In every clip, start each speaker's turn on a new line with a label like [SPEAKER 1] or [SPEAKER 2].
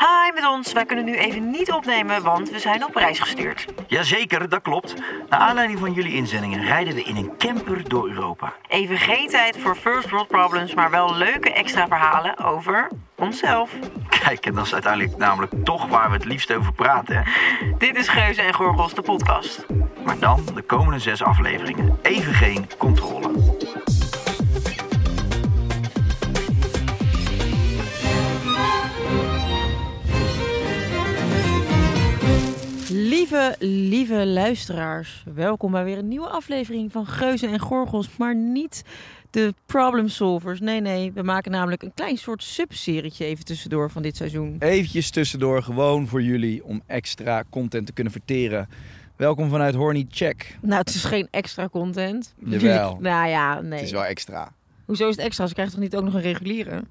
[SPEAKER 1] Hi met ons, wij kunnen nu even niet opnemen, want we zijn op reis gestuurd.
[SPEAKER 2] Jazeker, dat klopt. Naar aanleiding van jullie inzendingen rijden we in een camper door Europa.
[SPEAKER 1] Even geen tijd voor first world problems, maar wel leuke extra verhalen over onszelf.
[SPEAKER 2] Kijk, en dat is uiteindelijk namelijk toch waar we het liefst over praten. hè.
[SPEAKER 1] Dit is Geuze en Gorgels, de podcast.
[SPEAKER 2] Maar dan de komende zes afleveringen. Even geen controle.
[SPEAKER 3] Lieve, lieve luisteraars, welkom bij weer een nieuwe aflevering van Geuzen en Gorgels, maar niet de problem solvers. Nee, nee, we maken namelijk een klein soort subserietje even tussendoor van dit seizoen.
[SPEAKER 4] eventjes tussendoor, gewoon voor jullie om extra content te kunnen verteren. Welkom vanuit Horny Check.
[SPEAKER 3] Nou, het is geen extra content.
[SPEAKER 4] Jawel.
[SPEAKER 3] nou ja, nee.
[SPEAKER 4] Het is wel extra.
[SPEAKER 3] Hoezo is het extra? Ze krijgen toch niet ook nog een reguliere?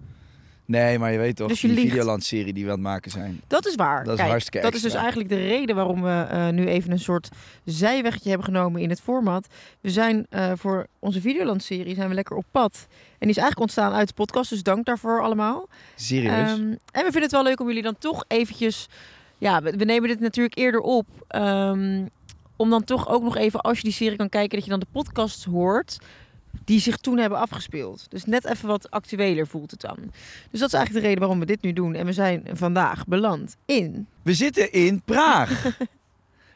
[SPEAKER 4] Nee, maar je weet toch,
[SPEAKER 3] Dus je
[SPEAKER 4] die
[SPEAKER 3] liegt.
[SPEAKER 4] Videoland-serie die we aan het maken zijn.
[SPEAKER 3] Dat is waar.
[SPEAKER 4] Dat is
[SPEAKER 3] Kijk,
[SPEAKER 4] hartstikke
[SPEAKER 3] Dat is dus
[SPEAKER 4] extra.
[SPEAKER 3] eigenlijk de reden waarom we eh, nu even een soort zijwegje hebben genomen in het format. We zijn eh, voor onze Videoland-serie zijn we lekker op pad. En die is eigenlijk ontstaan uit de podcast, dus dank daarvoor allemaal.
[SPEAKER 4] Serieus?
[SPEAKER 3] Ehm, en we vinden het wel leuk om jullie dan toch eventjes... Ja, we, we nemen dit natuurlijk eerder op. ehm, om dan toch ook nog even, als je die serie kan kijken... dat je dan de podcast hoort die zich toen hebben afgespeeld. Dus net even wat actueler voelt het dan. Dus dat is eigenlijk de reden waarom we dit nu doen. En we zijn vandaag beland in...
[SPEAKER 4] We zitten in Praag.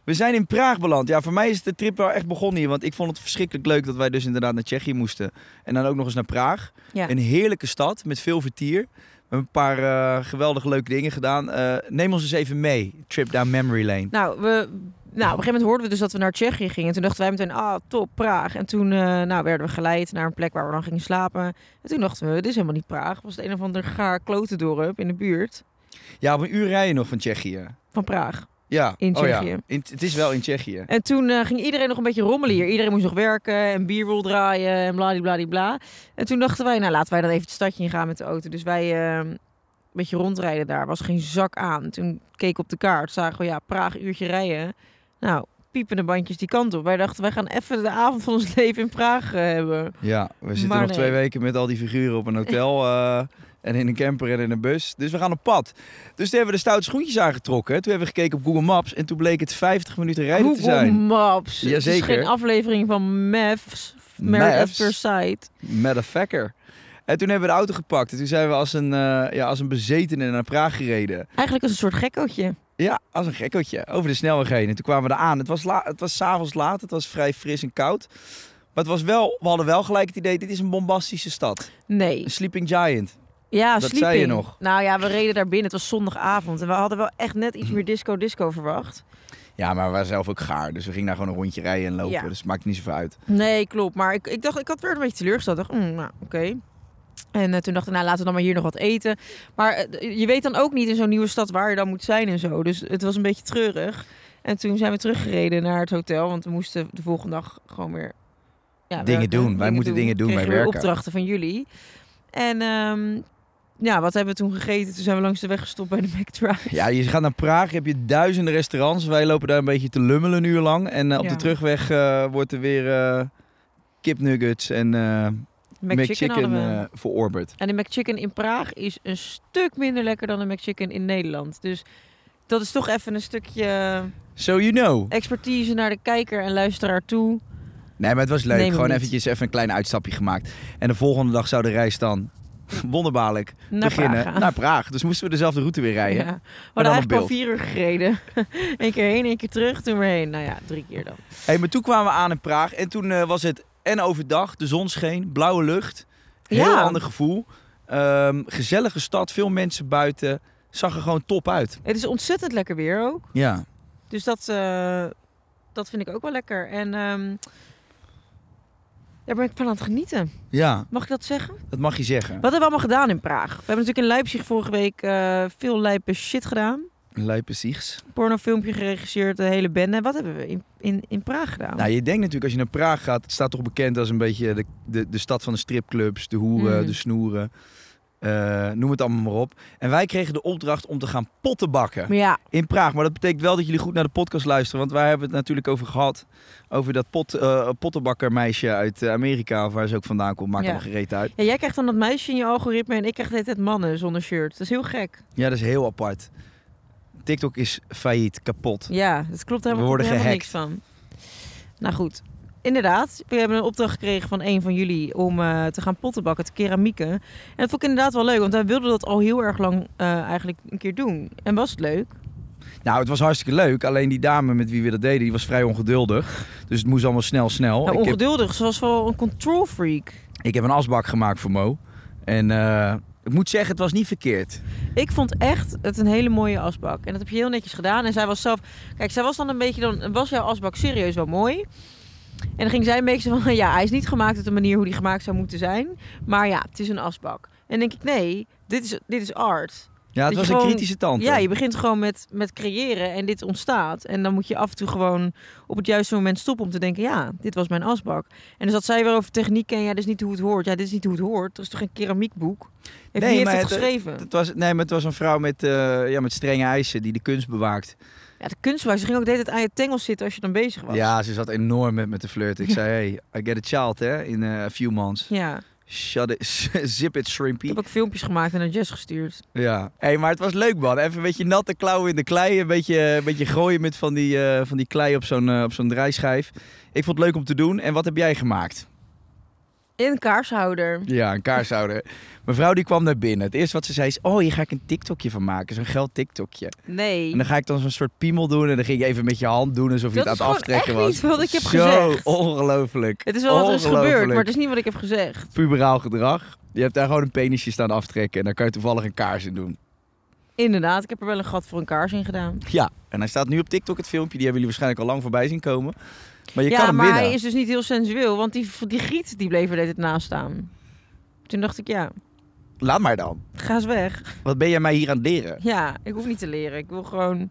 [SPEAKER 4] we zijn in Praag beland. Ja, voor mij is de trip wel echt begonnen hier. Want ik vond het verschrikkelijk leuk dat wij dus inderdaad naar Tsjechië moesten. En dan ook nog eens naar Praag.
[SPEAKER 3] Ja.
[SPEAKER 4] Een heerlijke stad met veel vertier. We hebben een paar eh, geweldige leuke dingen gedaan. Eh, neem ons eens even mee. Trip down memory lane.
[SPEAKER 3] Nou, we, nou, op een gegeven moment hoorden we dus dat we naar Tsjechië gingen. En toen dachten wij meteen, ah, top, Praag. En toen eh, nou, werden we geleid naar een plek waar we dan gingen slapen. En toen dachten we, dit is helemaal niet Praag. Het was het een of ander gaar klotendorp in de buurt
[SPEAKER 4] Ja, op een uur rijden nog van Tsjechië.
[SPEAKER 3] van Praag.
[SPEAKER 4] Ja.
[SPEAKER 3] In
[SPEAKER 4] oh ja.
[SPEAKER 3] Tsjechië.
[SPEAKER 4] In- het is wel in Tsjechië.
[SPEAKER 3] En toen eh, ging iedereen nog een beetje rommelen hier. Iedereen moest nog werken en bierrol draaien en bladibladibla. En toen dachten wij, nou laten wij dan even het stadje ingaan met de auto. Dus wij eh, een beetje rondrijden daar. Was geen zak aan. Toen keek ik op de kaart, zagen we ja, Praag uurtje rijden. Nou, piepende bandjes die kant op. Wij dachten, wij gaan even de avond van ons leven in Praag eh, hebben.
[SPEAKER 4] Ja, we zitten
[SPEAKER 3] Maar
[SPEAKER 4] nog
[SPEAKER 3] nee.
[SPEAKER 4] twee weken met al die figuren op een hotel eh, en in een camper en in een bus. Dus we gaan op pad. Dus toen hebben we de stoute schoentjes aangetrokken. Toen hebben we gekeken op Google Maps en toen bleek het 50 minuten rijden te
[SPEAKER 3] Google
[SPEAKER 4] zijn.
[SPEAKER 3] Maps. Het is
[SPEAKER 4] Jazeker.
[SPEAKER 3] geen aflevering van MEFs. Merit at
[SPEAKER 4] Mavs?
[SPEAKER 3] First Sight.
[SPEAKER 4] Motherfucker. En toen hebben we de auto gepakt en toen zijn we als een, eh, ja, als een bezetene naar Praag gereden.
[SPEAKER 3] Eigenlijk als een soort gekkootje.
[SPEAKER 4] Ja, als een gekkeltje. Over de snelweg heen. En toen kwamen we eraan. Het was, la het was s'avonds laat, het was vrij fris en koud. Maar het was wel, we hadden wel gelijk het idee, dit is een bombastische stad.
[SPEAKER 3] Nee.
[SPEAKER 4] Een sleeping giant.
[SPEAKER 3] Ja,
[SPEAKER 4] Dat
[SPEAKER 3] sleeping.
[SPEAKER 4] zei je nog.
[SPEAKER 3] Nou ja, we reden daar binnen. Het was zondagavond. En we hadden wel echt net iets meer disco-disco verwacht.
[SPEAKER 4] Ja, maar we waren zelf ook gaar. Dus we gingen daar gewoon een rondje rijden en lopen.
[SPEAKER 3] Ja.
[SPEAKER 4] Dus het maakt niet zoveel uit.
[SPEAKER 3] Nee, klopt. Maar ik, ik dacht, ik had weer een beetje teleurgesteld. Ik dacht, mm, nou, oké. En eh, toen dacht ik, nou, laten we dan maar hier nog wat eten. Maar eh, je weet dan ook niet in zo'n nieuwe stad waar je dan moet zijn en zo. Dus het was een beetje treurig. En toen zijn we teruggereden naar het hotel. Want we moesten de volgende dag gewoon weer... ja,
[SPEAKER 4] Dingen doen. Wij moeten dingen doen, wij
[SPEAKER 3] Kregen we weer
[SPEAKER 4] werken.
[SPEAKER 3] opdrachten van jullie. En ehm, ja, wat hebben we toen gegeten? Toen zijn we langs de weg gestopt bij de McDrive.
[SPEAKER 4] Ja, je gaat naar Praag, heb je duizenden restaurants. Wij lopen daar een beetje te lummelen een uur lang. En eh, op
[SPEAKER 3] Ja.
[SPEAKER 4] de terugweg eh, wordt er weer eh kipnuggets en eh
[SPEAKER 3] McChicken
[SPEAKER 4] McChicken
[SPEAKER 3] hadden we.
[SPEAKER 4] eh, verorberd.
[SPEAKER 3] En de McChicken in Praag is een stuk minder lekker dan de McChicken in Nederland. Dus dat is toch even een stukje
[SPEAKER 4] So you know.
[SPEAKER 3] expertise naar de kijker en luisteraar toe.
[SPEAKER 4] Nee, maar het was leuk.
[SPEAKER 3] Neem hem
[SPEAKER 4] Gewoon
[SPEAKER 3] niet.
[SPEAKER 4] eventjes even een klein uitstapje gemaakt. En de volgende dag zou de reis dan wonderbaarlijk
[SPEAKER 3] Naar
[SPEAKER 4] beginnen
[SPEAKER 3] Praag gaan.
[SPEAKER 4] naar Praag. Dus moesten we dezelfde route weer rijden.
[SPEAKER 3] Ja. We
[SPEAKER 4] dan
[SPEAKER 3] hadden
[SPEAKER 4] op
[SPEAKER 3] eigenlijk al
[SPEAKER 4] beeld.
[SPEAKER 3] vier uur gereden. Eén keer heen, één keer terug, toen weer heen. Nou ja, drie keer dan.
[SPEAKER 4] Hey, maar toen kwamen we aan in Praag en toen eh, was het en overdag, de zon scheen, blauwe lucht. Heel
[SPEAKER 3] Ja.
[SPEAKER 4] ander gevoel. Ehm, gezellige stad, veel mensen buiten. Zag er gewoon top uit.
[SPEAKER 3] Het is ontzettend lekker weer ook.
[SPEAKER 4] Ja.
[SPEAKER 3] Dus dat, eh, dat vind ik ook wel lekker. En ehm daar ben ik van aan het genieten.
[SPEAKER 4] Ja,
[SPEAKER 3] Mag ik dat zeggen?
[SPEAKER 4] dat mag je zeggen.
[SPEAKER 3] Wat hebben we allemaal gedaan in Praag? We hebben natuurlijk in Leipzig vorige week eh, veel lijpe shit gedaan.
[SPEAKER 4] Lijpe zieks.
[SPEAKER 3] Pornofilmpje geregisseerd, de hele bende. En Wat hebben we in, in, in Praag gedaan?
[SPEAKER 4] Nou, je denkt natuurlijk als je naar Praag gaat, het staat toch bekend als een beetje de, de, de stad van de stripclubs, de hoeren,
[SPEAKER 3] Mm.
[SPEAKER 4] de snoeren. eh, noem het allemaal maar op. En wij kregen de opdracht om te gaan potten bakken
[SPEAKER 3] Maar ja,
[SPEAKER 4] in Praag. Maar dat betekent wel dat jullie goed naar de podcast luisteren. Want wij hebben het natuurlijk over gehad. Over dat pot, eh, pottenbakkermeisje uit eh, Amerika, of waar ze ook vandaan komt. Maakt
[SPEAKER 3] Ja.
[SPEAKER 4] allemaal gereed uit.
[SPEAKER 3] ja, jij krijgt dan dat meisje in je algoritme en ik krijg de hele tijd mannen zonder shirt. Dat is heel gek.
[SPEAKER 4] Ja, dat is heel apart. TikTok is failliet, kapot.
[SPEAKER 3] Ja, dat klopt helemaal,
[SPEAKER 4] We worden
[SPEAKER 3] klopt helemaal niks van. Nou goed, inderdaad. We hebben een opdracht gekregen van een van jullie om eh, te gaan potten bakken, te keramieken. En dat vond ik inderdaad wel leuk, want wij wilden dat al heel erg lang eh, eigenlijk een keer doen. En was het leuk?
[SPEAKER 4] Nou, het was hartstikke leuk. Alleen die dame met wie we dat deden, die was vrij ongeduldig. Dus het moest allemaal snel, snel.
[SPEAKER 3] Nou,
[SPEAKER 4] Ik heb-
[SPEAKER 3] ongeduldig. Ze was wel een control freak.
[SPEAKER 4] Ik heb een asbak gemaakt voor Mo. En eh, ik moet zeggen, het was niet verkeerd.
[SPEAKER 3] Ik vond echt het een hele mooie asbak. En dat heb je heel netjes gedaan. En zij was zelf... Kijk, zij was dan een beetje... Dan was jouw asbak serieus wel mooi. En dan ging zij een beetje zo van... Ja, hij is niet gemaakt op de manier hoe die gemaakt zou moeten zijn. Maar ja, het is een asbak. En dan denk ik, nee, dit is, dit is art.
[SPEAKER 4] Ja, het
[SPEAKER 3] je
[SPEAKER 4] was een
[SPEAKER 3] gewoon-
[SPEAKER 4] kritische tand.
[SPEAKER 3] Ja, je begint gewoon met, met creëren en dit ontstaat. En dan moet je af en toe gewoon op het juiste moment stoppen om te denken... Ja, dit was mijn asbak. En dan zat zij weer over techniek en ja, dit is niet hoe het hoort. Ja, dit is niet hoe het hoort. Er is toch een keramiekboek? Heeft
[SPEAKER 4] Nee,
[SPEAKER 3] nee,
[SPEAKER 4] maar
[SPEAKER 3] heeft het
[SPEAKER 4] het- eh,
[SPEAKER 3] geschreven?
[SPEAKER 4] het was, nee, maar het was een vrouw met, eh, ja, met strenge eisen die de kunst bewaakt.
[SPEAKER 3] Ja, de kunstwijs. Ze ging ook de hele tijd aan je tengels zitten als je dan bezig was.
[SPEAKER 4] Ja, ze zat enorm met me te flirten. Ik zei, hey, I get a child, hè, in eh, a few months.
[SPEAKER 3] Ja.
[SPEAKER 4] Shut it, zip it,
[SPEAKER 3] Ik
[SPEAKER 4] shrimpy.
[SPEAKER 3] heb ook filmpjes gemaakt en naar Jess gestuurd.
[SPEAKER 4] Ja. Hey, maar het was leuk, man. Even een beetje natte klauwen in de klei. Een beetje, een beetje gooien met van die, eh, van die klei op zo'n eh, op zo'n draaischijf. Ik vond het leuk om te doen. En wat heb jij gemaakt?
[SPEAKER 3] In kaarshouder.
[SPEAKER 4] Ja, een kaarshouder. Mevrouw die kwam naar binnen. Het eerste wat ze zei is, oh, hier ga ik een TikTokje van maken. Zo'n geld TikTokje.
[SPEAKER 3] Nee.
[SPEAKER 4] En dan ga ik dan zo'n soort piemel doen. En dan ging ik even met je hand doen alsof je
[SPEAKER 3] Dat
[SPEAKER 4] het
[SPEAKER 3] is
[SPEAKER 4] aan het
[SPEAKER 3] gewoon
[SPEAKER 4] aftrekken
[SPEAKER 3] echt
[SPEAKER 4] was.
[SPEAKER 3] niet wat ik heb
[SPEAKER 4] Zo
[SPEAKER 3] gezegd.
[SPEAKER 4] ongelooflijk.
[SPEAKER 3] Het is wel wat er is gebeurd, maar
[SPEAKER 4] Ongelooflijk.
[SPEAKER 3] het is niet wat ik heb gezegd.
[SPEAKER 4] Puberaal gedrag. Je hebt daar gewoon een penisje staan aftrekken. En dan kan je toevallig een kaars in doen.
[SPEAKER 3] Inderdaad, ik heb er wel een gat voor een kaars in gedaan.
[SPEAKER 4] Ja. En hij staat nu op TikTok, het filmpje. Die hebben jullie waarschijnlijk al lang voorbij zien komen. Maar je
[SPEAKER 3] ja,
[SPEAKER 4] kan hem
[SPEAKER 3] maar
[SPEAKER 4] winnen.
[SPEAKER 3] hij is dus niet heel sensueel, want die, die giet die bleef er de hele tijd naast staan. Toen dacht ik, ja,
[SPEAKER 4] Laat maar dan.
[SPEAKER 3] ga eens weg.
[SPEAKER 4] Wat ben jij mij hier aan het leren?
[SPEAKER 3] Ja, ik hoef niet te leren. Ik wil gewoon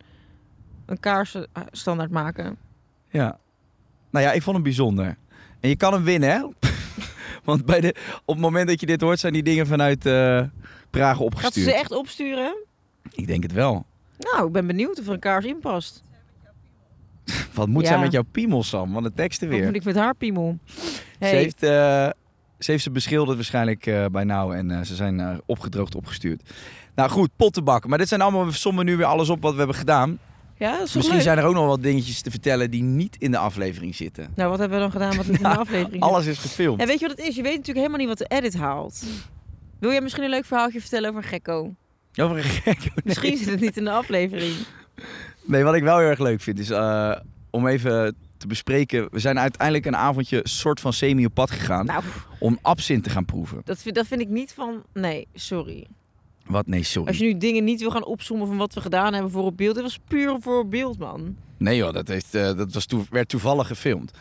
[SPEAKER 3] een kaars eh, standaard maken.
[SPEAKER 4] Ja. Nou ja, ik vond hem bijzonder. En je kan hem winnen, hè? Want bij de, op het moment dat je dit hoort, zijn die dingen vanuit eh Praag
[SPEAKER 3] Gaat ze
[SPEAKER 4] opgestuurd.
[SPEAKER 3] ze echt opsturen?
[SPEAKER 4] Ik denk het wel.
[SPEAKER 3] Nou, ik ben benieuwd of er een kaars in past.
[SPEAKER 4] Wat moet
[SPEAKER 3] Ja.
[SPEAKER 4] zij met jouw piemel, Sam? Want de teksten
[SPEAKER 3] Wat
[SPEAKER 4] weer.
[SPEAKER 3] moet ik met haar piemel?
[SPEAKER 4] Ze,
[SPEAKER 3] Hey,
[SPEAKER 4] heeft, eh, ze heeft ze beschilderd waarschijnlijk eh, bij nou en eh, ze zijn eh, opgedroogd opgestuurd. Nou goed, pottenbakken. Maar dit zijn allemaal, we sommen nu weer alles op wat we hebben gedaan.
[SPEAKER 3] ja, dat is toch
[SPEAKER 4] Misschien
[SPEAKER 3] leuk?
[SPEAKER 4] zijn er ook nog wat dingetjes te vertellen die niet in de aflevering zitten.
[SPEAKER 3] Nou, wat hebben we dan gedaan wat niet in de aflevering zit?
[SPEAKER 4] Alles is gefilmd.
[SPEAKER 3] Ja, weet je wat het is? Je weet natuurlijk helemaal niet wat de edit haalt. Wil jij misschien een leuk verhaaltje vertellen over een gekko?
[SPEAKER 4] Over een gek.
[SPEAKER 3] Misschien zit het niet in de aflevering.
[SPEAKER 4] Nee, wat ik wel heel erg leuk vind is eh, om even te bespreken. We zijn uiteindelijk een avondje soort van semi op pad gegaan
[SPEAKER 3] Nou,
[SPEAKER 4] om absint te gaan proeven.
[SPEAKER 3] dat vind, dat vind ik niet van... Nee, sorry.
[SPEAKER 4] Wat? Nee, sorry.
[SPEAKER 3] Als je nu dingen niet wil gaan opzommen van wat we gedaan hebben voor op beeld. Dit was puur voor op beeld, man.
[SPEAKER 4] Nee joh, dat, heeft, eh, dat was toe- werd toevallig gefilmd.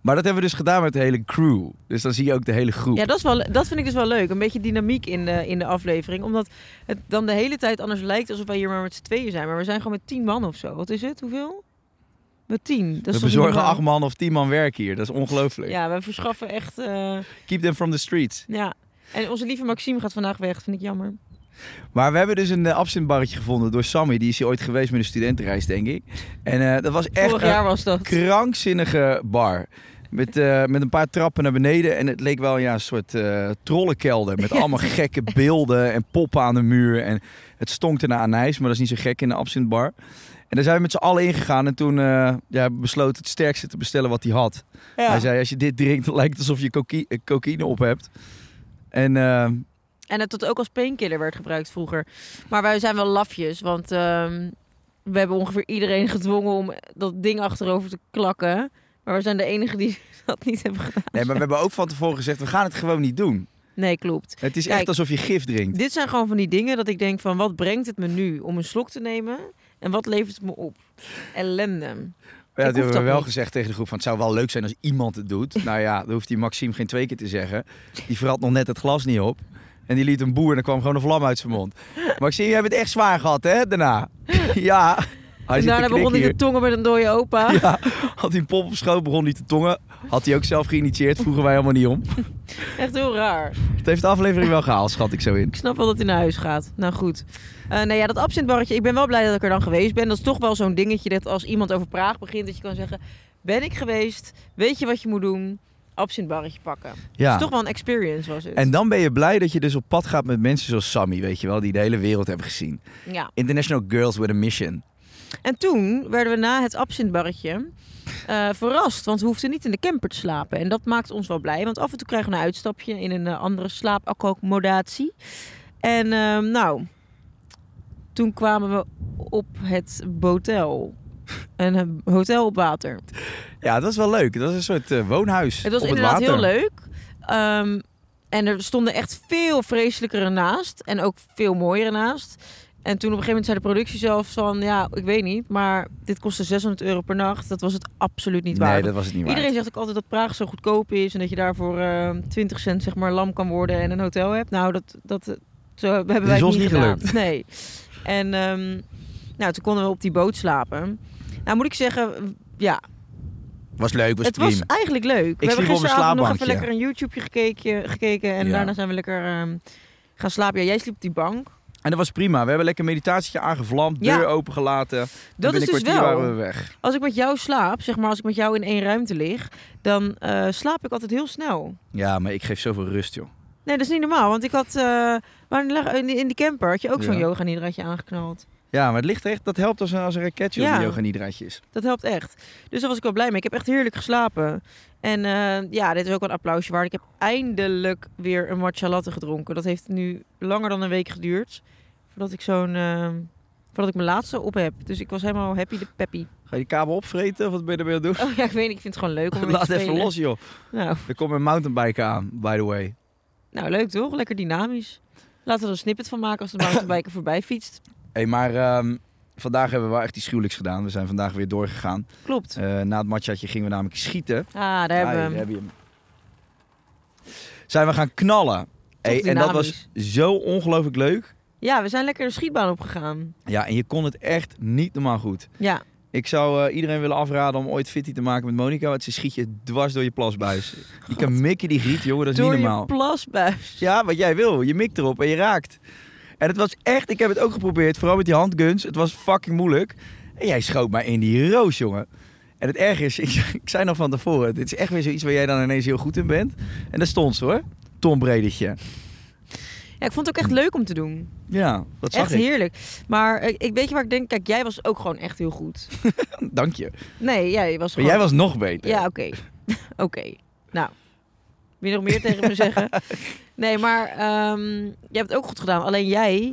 [SPEAKER 4] Maar dat hebben we dus gedaan met de hele crew. Dus dan zie je ook de hele groep.
[SPEAKER 3] Ja, dat, is wel, dat vind ik dus wel leuk. Een beetje dynamiek in de, in de aflevering. Omdat het dan de hele tijd anders lijkt alsof wij hier maar met z'n tweeën zijn. Maar we zijn gewoon met tien man of zo. Wat is het? Hoeveel? Met tien. Dat is
[SPEAKER 4] we
[SPEAKER 3] toch niet
[SPEAKER 4] bezorgen
[SPEAKER 3] normaal?
[SPEAKER 4] acht man of tien man werk hier. Dat is ongelooflijk.
[SPEAKER 3] Ja, we verschaffen echt... eh,
[SPEAKER 4] Keep them from the streets.
[SPEAKER 3] ja. En onze lieve Maxime gaat vandaag weg. vind ik jammer.
[SPEAKER 4] Maar we hebben dus een eh, absintbarretje gevonden door Sammy. Die is hier ooit geweest met een studentenreis, denk ik. En eh, dat was echt
[SPEAKER 3] Vorig
[SPEAKER 4] een
[SPEAKER 3] jaar was dat.
[SPEAKER 4] krankzinnige bar. Met, eh, met een paar trappen naar beneden. En het leek wel ja, een soort eh, trollenkelder. Met allemaal gekke beelden en poppen aan de muur. En het stonk ernaar aan ijs. Maar dat is niet zo gek in de absintbar. En daar zijn we met z'n allen ingegaan. En toen eh, ja, besloot het sterkste te bestellen wat hij had. Hij zei, als je dit drinkt, dan lijkt het alsof je coqui- eh, cocaïne op hebt. En eh,
[SPEAKER 3] En dat het ook als painkiller werd gebruikt vroeger. Maar wij zijn wel lafjes, want ehm, we hebben ongeveer iedereen gedwongen om dat ding achterover te klakken. Maar we zijn de enigen die dat niet hebben gedaan.
[SPEAKER 4] nee, maar we hebben ook van tevoren gezegd, we gaan het gewoon niet doen.
[SPEAKER 3] Nee, klopt.
[SPEAKER 4] Het is echt
[SPEAKER 3] Kijk.
[SPEAKER 4] alsof je gif drinkt.
[SPEAKER 3] Dit zijn gewoon van die dingen dat ik denk van wat brengt het me nu om een slok te nemen? En wat levert het me op? Ellende.
[SPEAKER 4] Ja,
[SPEAKER 3] Ik hoef
[SPEAKER 4] dat hebben we
[SPEAKER 3] dat
[SPEAKER 4] wel
[SPEAKER 3] niet.
[SPEAKER 4] gezegd tegen de groep. Van, het zou wel leuk zijn als iemand het doet. nou ja, dat hoeft die Maxime geen twee keer te zeggen. Die vrat nog net het glas niet op. En die liet een boer en er kwam gewoon een vlam uit zijn mond. Maxime, je hebt het echt zwaar gehad, hè, daarna? ja. Hij
[SPEAKER 3] En
[SPEAKER 4] zit
[SPEAKER 3] daarna
[SPEAKER 4] te
[SPEAKER 3] begon hij
[SPEAKER 4] knikken
[SPEAKER 3] te tongen met een dode opa.
[SPEAKER 4] hier. Ja, had hij een pop op schoot, begon hij te tongen. Had hij ook zelf geïnitieerd, vroegen wij helemaal niet om.
[SPEAKER 3] Echt heel raar.
[SPEAKER 4] Het heeft de aflevering wel gehaald, schat ik zo in.
[SPEAKER 3] Ik snap wel dat hij naar huis gaat. Nou goed. Eh nou ja, dat absintbarretje. Ik ben wel blij dat ik er dan geweest ben. Dat is toch wel zo'n dingetje dat als iemand over Praag begint, dat je kan zeggen: Ben ik geweest? Weet je wat je moet doen? Absintbarretje pakken.
[SPEAKER 4] Ja.
[SPEAKER 3] Dus toch wel een experience was het.
[SPEAKER 4] En dan ben je blij dat je dus op pad gaat met mensen zoals Sammy, weet je wel, die de hele wereld hebben gezien.
[SPEAKER 3] ja.
[SPEAKER 4] International Girls with a Mission.
[SPEAKER 3] en toen werden we na het absintbarretje eh, verrast, want we hoefden niet in de camper te slapen. En dat maakt ons wel blij, want af en toe krijgen we een uitstapje in een eh, andere slaapaccommodatie. En eh, nou, toen kwamen we op het botel. Een eh, hotel op water.
[SPEAKER 4] Ja, dat is wel leuk. Dat is een soort eh, woonhuis.
[SPEAKER 3] Het was
[SPEAKER 4] op
[SPEAKER 3] inderdaad
[SPEAKER 4] het water.
[SPEAKER 3] heel leuk. Ehm, en er stonden echt veel vreselijkere naast. En ook veel mooiere naast. En toen op een gegeven moment zei de productie zelf van... Ja, ik weet niet, maar dit kostte 600 euro per nacht. Dat was het absoluut niet waard.
[SPEAKER 4] Nee, dat was het niet waard.
[SPEAKER 3] Iedereen zegt ook altijd dat Praag zo goedkoop is... en dat je daarvoor eh 20 cent zeg maar lam kan worden en een hotel hebt. Nou, dat, dat eh, zo hebben wij het
[SPEAKER 4] ons
[SPEAKER 3] niet
[SPEAKER 4] niet
[SPEAKER 3] gedaan.
[SPEAKER 4] gelukt.
[SPEAKER 3] Nee. En ehm, nou, toen konden we op die boot slapen. Nou, moet ik zeggen... Ja,
[SPEAKER 4] Was leuk, was
[SPEAKER 3] het
[SPEAKER 4] prima.
[SPEAKER 3] was eigenlijk leuk. we
[SPEAKER 4] sliep op
[SPEAKER 3] hebben
[SPEAKER 4] een
[SPEAKER 3] gisteravond nog even
[SPEAKER 4] slaapbankje.
[SPEAKER 3] lekker een YouTube gekeken, gekeken en
[SPEAKER 4] Ja.
[SPEAKER 3] daarna zijn we lekker ehm, gaan slapen. Ja, jij sliep op die bank.
[SPEAKER 4] En dat was prima. We hebben lekker een meditatietje aangevlamd,
[SPEAKER 3] Ja.
[SPEAKER 4] deur opengelaten. En
[SPEAKER 3] Dat is
[SPEAKER 4] binnen
[SPEAKER 3] dus
[SPEAKER 4] een
[SPEAKER 3] wel.
[SPEAKER 4] kwartier waren we weg.
[SPEAKER 3] Als ik met jou slaap, zeg maar als ik met jou in één ruimte lig, dan eh, slaap ik altijd heel snel.
[SPEAKER 4] Ja, maar ik geef zoveel rust, joh.
[SPEAKER 3] Nee, dat is niet normaal, want ik had eh, waar lag- in, die, in die camper had je ook zo'n
[SPEAKER 4] Ja.
[SPEAKER 3] yoga nidraatje aangeknald.
[SPEAKER 4] Ja, maar het ligt echt, dat helpt als een, als een raketje
[SPEAKER 3] Ja.
[SPEAKER 4] op een yoga nidraatje is.
[SPEAKER 3] Dat helpt echt. Dus daar was ik wel blij mee. Ik heb echt heerlijk geslapen. En eh, ja, dit is ook wel een applausje waard. Ik heb eindelijk weer een matcha latte gedronken. Dat heeft nu langer dan een week geduurd. Voordat ik zo'n... eh, voordat ik mijn laatste op heb. Dus ik was helemaal happy de peppy.
[SPEAKER 4] Ga je die kabel opvreten of wat ben je ermee aan het
[SPEAKER 3] Oh ja, ik weet niet. Ik vind het gewoon leuk om
[SPEAKER 4] doen?
[SPEAKER 3] ermee
[SPEAKER 4] Laat
[SPEAKER 3] te
[SPEAKER 4] even
[SPEAKER 3] spelen.
[SPEAKER 4] los, joh.
[SPEAKER 3] Nou,
[SPEAKER 4] Er komt een mountainbike aan, by the way.
[SPEAKER 3] nou, leuk toch? Lekker dynamisch. Laten we er een snippet van maken als de mountainbiker voorbij fietst.
[SPEAKER 4] Hé, maar ehm, vandaag hebben we wel echt iets gruwelijks gedaan. We zijn vandaag weer doorgegaan.
[SPEAKER 3] Klopt.
[SPEAKER 4] Eh, na het matchatje gingen we namelijk schieten.
[SPEAKER 3] Ah, daar
[SPEAKER 4] Ah,
[SPEAKER 3] hebben we
[SPEAKER 4] hier,
[SPEAKER 3] hem.
[SPEAKER 4] heb je hem. Zijn we gaan knallen. Hé, en dat was
[SPEAKER 3] dynamisch.
[SPEAKER 4] zo ongelooflijk leuk.
[SPEAKER 3] Ja, we zijn lekker de schietbaan opgegaan.
[SPEAKER 4] Ja, en je kon het echt niet normaal goed.
[SPEAKER 3] Ja,
[SPEAKER 4] Ik zou eh, iedereen willen afraden om ooit fitty te maken met Monica, want ze schiet je dwars door je plasbuis. Je kan mikken die giet, jongen, dat is
[SPEAKER 3] door
[SPEAKER 4] niet
[SPEAKER 3] je
[SPEAKER 4] normaal.
[SPEAKER 3] plasbuis.
[SPEAKER 4] Ja, wat jij wil. Je mikt erop en je raakt. En het was echt, ik heb het ook geprobeerd, vooral met die handguns. Het was fucking moeilijk. En jij schoot maar in die roos, jongen. En het erg is, ik, ik zei nog van tevoren, dit is echt weer zoiets waar jij dan ineens heel goed in bent. En daar stond ze hoor, Tom Bredertje.
[SPEAKER 3] Ja, ik vond het ook echt
[SPEAKER 4] Hm.
[SPEAKER 3] leuk om te doen.
[SPEAKER 4] Ja, dat zag
[SPEAKER 3] Echt
[SPEAKER 4] ik.
[SPEAKER 3] heerlijk. Maar eh, ik weet je waar ik denk, kijk, jij was ook gewoon echt heel goed.
[SPEAKER 4] Dank je.
[SPEAKER 3] Nee, jij was
[SPEAKER 4] Maar
[SPEAKER 3] gewoon.
[SPEAKER 4] jij was nog beter.
[SPEAKER 3] Ja, oké. oké. Nou, wil je nog meer tegen me zeggen? Nee, maar ehm, jij hebt het ook goed gedaan. Alleen jij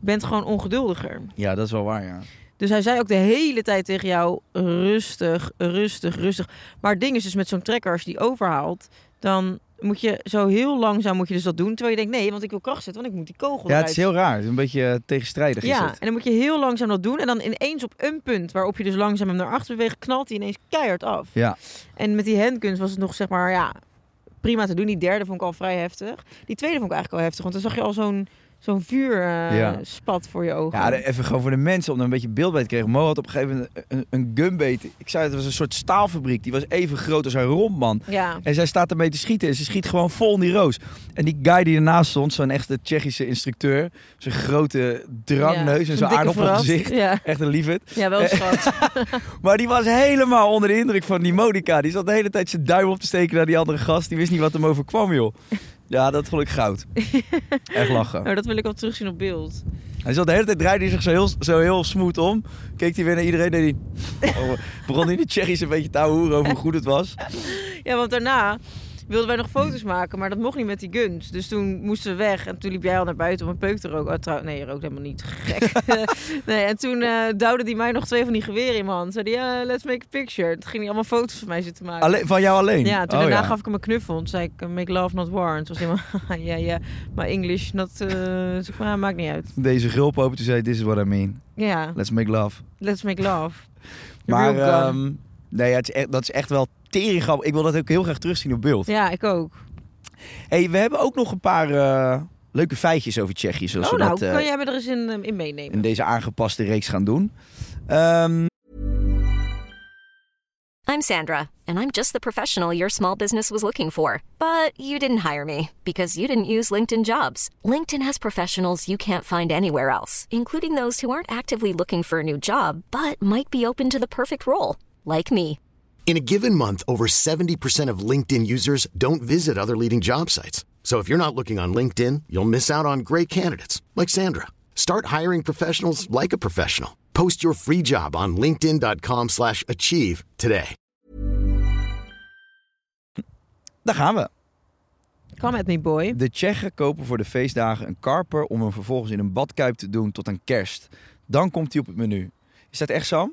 [SPEAKER 3] bent gewoon ongeduldiger.
[SPEAKER 4] Ja, dat is wel waar, ja.
[SPEAKER 3] Dus hij zei ook de hele tijd tegen jou: rustig, rustig, rustig. Maar het ding is dus met zo'n trekker, als je die overhaalt, dan moet je zo heel langzaam moet je dus dat doen. Terwijl je denkt: nee, want ik wil kracht zetten, want ik moet die kogel
[SPEAKER 4] Ja, het
[SPEAKER 3] eruit
[SPEAKER 4] is heel raar. Het is een beetje eh, tegenstrijdig
[SPEAKER 3] Ja,
[SPEAKER 4] is het.
[SPEAKER 3] en dan moet je heel langzaam dat doen. En dan ineens op een punt waarop je dus langzaam hem naar achter beweegt, knalt hij ineens keihard af.
[SPEAKER 4] Ja.
[SPEAKER 3] En met die handkunst was het nog zeg maar, ja, prima te doen. Die derde vond ik al vrij heftig. Die tweede vond ik eigenlijk al heftig, want dan zag je al zo'n zo'n
[SPEAKER 4] Ja.
[SPEAKER 3] vuurspat voor je ogen.
[SPEAKER 4] Ja, de- even gewoon voor de mensen om er een beetje beeld bij te krijgen. Mo had op een gegeven moment een, een gunbait. Ik zei het was een soort staalfabriek. Die was even groot als haar rondman.
[SPEAKER 3] ja.
[SPEAKER 4] En zij staat ermee te schieten en ze schiet gewoon vol in die roos. En die guy die ernaast stond, zo'n echte Tsjechische instructeur. Zijn grote drangneus
[SPEAKER 3] Ja,
[SPEAKER 4] en zo'n
[SPEAKER 3] dikke
[SPEAKER 4] aardappelgezicht.
[SPEAKER 3] verrast. Ja.
[SPEAKER 4] Echt een lieverd.
[SPEAKER 3] ja, wel schat.
[SPEAKER 4] Maar die was helemaal onder de indruk van die Monica. Die zat de hele tijd zijn duim op te steken naar die andere gast. Die wist niet wat hem overkwam, joh. Ja, dat vond ik goud. Echt lachen.
[SPEAKER 3] nou, dat wil ik wel terugzien op beeld.
[SPEAKER 4] Hij zat de hele tijd, draaide hij zich zo heel, zo heel smooth om. Keek hij weer naar iedereen en hij oh, begon in de Tsjechisch een beetje te ouwehoeren over hoe goed het was.
[SPEAKER 3] Ja, want daarna wilden wij nog foto's maken, maar dat mocht niet met die guns. Dus toen moesten we weg en toen liep jij al naar buiten om een peuk te roken. Oh, trouw- nee, je rookt helemaal niet. Gek. nee, en toen eh duwde hij mij nog twee van die geweren in mijn hand. Zei die, ja, let's make a picture. Toen ging hij allemaal foto's van mij zitten maken.
[SPEAKER 4] Alleen, van jou alleen?
[SPEAKER 3] Ja, toen
[SPEAKER 4] Oh,
[SPEAKER 3] daarna
[SPEAKER 4] ja.
[SPEAKER 3] gaf ik hem een knuffel. Toen zei ik, "Eh, make love, not war. En toen was hij helemaal, ja, ja, maar English, not... eh zeg maar, maakt niet uit.
[SPEAKER 4] Deze gulp open, toen zei hij, this is what I mean.
[SPEAKER 3] Ja,
[SPEAKER 4] Let's make love.
[SPEAKER 3] let's make love. The
[SPEAKER 4] Maar
[SPEAKER 3] real gun.
[SPEAKER 4] ehm, nee, ja, het is echt, dat is echt wel teringgap. Ik wil dat ook heel graag terugzien op beeld.
[SPEAKER 3] Ja, ik ook.
[SPEAKER 4] hey, we hebben ook nog een paar eh, leuke feitjes over Tsjechië. Zoals
[SPEAKER 3] oh,
[SPEAKER 4] we
[SPEAKER 3] nou,
[SPEAKER 4] dat eh,
[SPEAKER 3] kan jij me er eens in, eh, in meenemen?
[SPEAKER 4] in deze aangepaste reeks gaan doen. Ehm,
[SPEAKER 5] I'm Sandra, and I'm just the professional your small business was looking for. But you didn't hire me because you didn't use LinkedIn jobs. LinkedIn has professionals you can't find anywhere else, including those who aren't actively looking for a new job but might be open to the perfect role, like me.
[SPEAKER 6] In a given month, over 70% of LinkedIn users don't visit other leading job sites. So if you're not looking on LinkedIn, you'll miss out on great candidates like Sandra. Start hiring professionals like a professional. Post your free job on linkedin.com/achieve slash achieve today.
[SPEAKER 4] daar gaan we.
[SPEAKER 3] Kan het niet, boy.
[SPEAKER 4] De Tsjechen kopen voor de feestdagen een karper om hem vervolgens in een badkuip te doen tot aan kerst. Dan komt hij op het menu. Is dat echt Sam?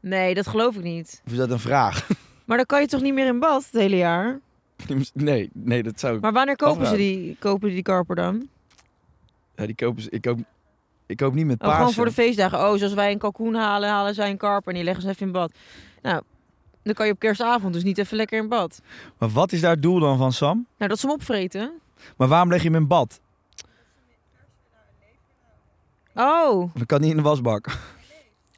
[SPEAKER 3] Nee, dat geloof ik niet.
[SPEAKER 4] Of is dat een vraag?
[SPEAKER 3] Maar dan kan je toch niet meer in bad het hele jaar?
[SPEAKER 4] Nee, nee, dat zou ik...
[SPEAKER 3] Maar wanneer kopen ze
[SPEAKER 4] Afraden.
[SPEAKER 3] die, kopen die karper dan? Oh,
[SPEAKER 4] Ja, die kopen ze- ik, koop, ik koop niet met
[SPEAKER 3] Oh,
[SPEAKER 4] Pasen.
[SPEAKER 3] gewoon voor de feestdagen. Oh, zoals wij een kalkoen halen, halen zij een karper en die leggen ze even in bad. Nou, dan kan je op kerstavond dus niet even lekker in bad.
[SPEAKER 4] Maar wat is daar het doel dan van Sam?
[SPEAKER 3] Nou, dat ze hem opvreten.
[SPEAKER 4] Maar waarom leg je hem in bad?
[SPEAKER 3] Oh,
[SPEAKER 4] Dan kan hij in de wasbak.